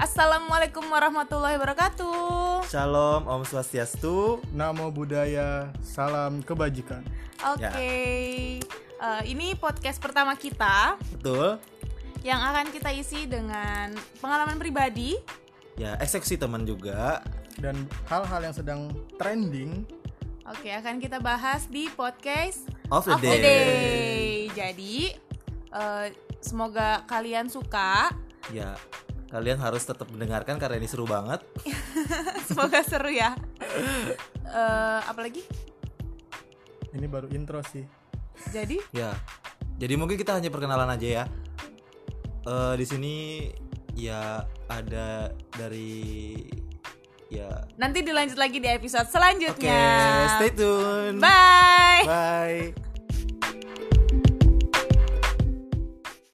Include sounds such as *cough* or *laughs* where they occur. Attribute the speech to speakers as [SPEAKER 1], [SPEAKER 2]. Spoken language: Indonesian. [SPEAKER 1] Assalamualaikum warahmatullahi wabarakatuh.
[SPEAKER 2] Shalom, Om Swastiastu.
[SPEAKER 3] Namo Buddhaya, salam kebajikan.
[SPEAKER 1] Oke,
[SPEAKER 2] Ya.
[SPEAKER 1] eh, ini podcast pertama kita
[SPEAKER 2] Betul.
[SPEAKER 1] yang akan kita isi dengan pengalaman pribadi.
[SPEAKER 2] Ya, eksekusi teman juga.
[SPEAKER 3] Dan hal-hal yang sedang trending,
[SPEAKER 1] Oke, akan kita bahas di podcast
[SPEAKER 2] Of the
[SPEAKER 1] of the
[SPEAKER 2] day.
[SPEAKER 1] day. Jadi, eh, semoga kalian suka. *laughs*
[SPEAKER 2] Ya, kalian harus tetap mendengarkan karena ini seru banget.
[SPEAKER 1] Semoga seru ya. Eh, apalagi?
[SPEAKER 3] ini baru intro sih.
[SPEAKER 1] Jadi,
[SPEAKER 2] Ya. Jadi mungkin kita hanya perkenalan aja ya. Eh di sini ya ada dari ya.
[SPEAKER 1] nanti dilanjut lagi di episode
[SPEAKER 2] Oke,
[SPEAKER 1] selanjutnya.
[SPEAKER 2] stay tune.
[SPEAKER 1] Bye.
[SPEAKER 2] Bye.